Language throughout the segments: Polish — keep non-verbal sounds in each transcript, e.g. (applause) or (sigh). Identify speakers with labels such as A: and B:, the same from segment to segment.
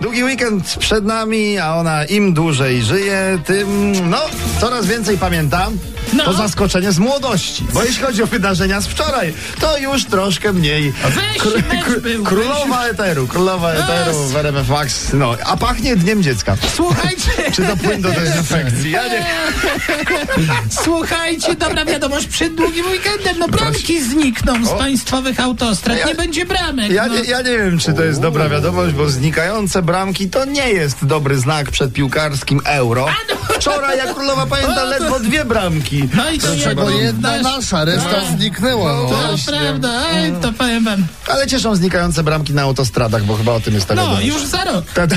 A: Długi weekend przed nami, a ona im dłużej żyje, tym no, coraz więcej pamięta.
B: No.
A: To zaskoczenie z młodości. Bo jeśli chodzi o wydarzenia z wczoraj, to już troszkę mniej.
B: weź, weź był, No,
A: królowa eteru, królowa eteru w RMF Max. No, a pachnie dniem dziecka.
B: Słuchajcie,
A: (laughs) Czy to płyn do dezynfekcji? Ja nie.
B: słuchajcie, dobra wiadomość przed długim weekendem. No bramki znikną z państwowych autostrad, nie będzie bramek.
A: Ja
B: no.
A: nie, ja nie wiem, czy to jest dobra wiadomość, bo znikające bramki to nie jest dobry znak przed piłkarskim euro. Wczoraj, jak królowa pamięta, ledwo dwie bramki.
B: No i to
A: trzeba
C: Bo
B: jedną
C: jedna
B: też.
C: nasza, reszta
B: Tak.
C: zniknęła. No.
B: To prawda, Ej,
A: No.
B: to powiem wam.
A: Ale cieszą znikające bramki na autostradach, bo chyba o tym jest ta
B: No,
A: wiadomość.
B: już za rok.
A: Ta- ta-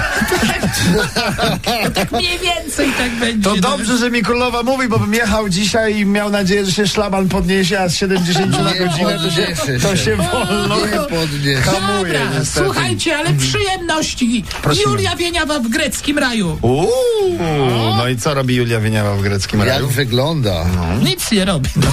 B: Tak mniej więcej tak będzie.
A: To dobrze, że mi królowa mówi, bo bym jechał dzisiaj i miał nadzieję, że się szlaban podniesie, a z 70 na
C: No Nie
A: godzinę to się,
C: podniesie
A: to
C: się.
A: się wolno.
C: Nie podnieś.
A: hamuje,
B: no. Dobra,
A: niestety. Mhm.
B: słuchajcie, ale przyjemności. Julia Wieniawa w greckim raju.
A: Uuu, no i co robi Julia Wieniawa w greckim
C: Jak
A: raju?
C: wygląda?
A: Mhm.
B: Nic nie robi. No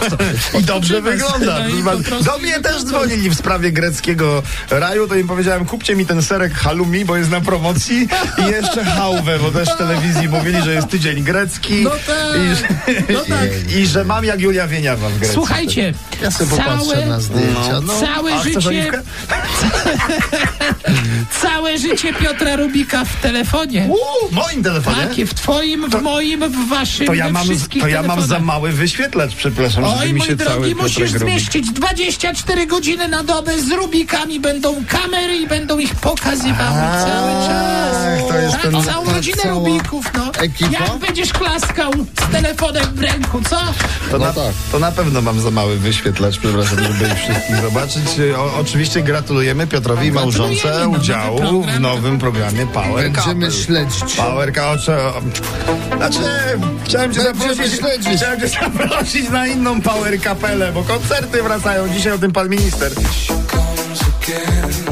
B: to,
A: I dobrze wygląda.
B: No i po prostu no.
A: Do mnie też dzwonili w sprawie greckiego raju, to im powiedziałem, kupcie mi ten serek halumi, bo jest na promocji i jeszcze hałwę, bo też w telewizji mówili, że jest tydzień grecki
B: No tak,
A: i, że-
B: no tak.
A: i że mam jak Julia Wieniawa w Grecji.
B: Słuchajcie,
C: Ja sobie
B: całe,
C: popatrzę na zdjęcia. No.
B: całe
A: A chcesz
B: życie
A: oliwkę?
B: Całe życie Piotra Rubika w telefonie.
A: Uuu, w moim telefonie?
B: Tak, w twoim, w moim, w waszym,
A: To ja,
B: we
A: mam,
B: wszystkich
A: to ja mam za
B: telefonach.
A: mały wyświetlacz, przepraszam, żeby
B: Oj,
A: mi
B: mój
A: się cały
B: drogi,
A: Piotrek
B: musisz
A: robi.
B: zmieścić 24 godziny na dobę z Rubikami. Będą kamery i będą ich pokazywały
A: A,
B: cały czas.
A: to jest
B: tak,
A: ten-
B: całą
C: ta
B: rodzinę
C: cała
B: Rubików, no.
C: ekipa?
B: Jak będziesz klaskał z telefonem w ręku, co?
A: To,
C: No
A: na,
C: tak.
A: to na pewno mam za mały wyświetlacz, przepraszam, żeby ich wszystkich zobaczyć. O, oczywiście gratulujemy Piotrowi i małżonce
B: Gratulujemy, nowy
A: udziału
B: program.
A: w nowym programie Power
C: Będziemy
A: Couple.
C: śledzić.
A: Power Couple. Znaczy, chciałem cię
C: Będziemy
A: zaprosić,
C: śledzić.
A: chciałem cię zaprosić na inną Power Kapelę, bo koncerty wracają. Dzisiaj o tym pan minister.
D: comes again.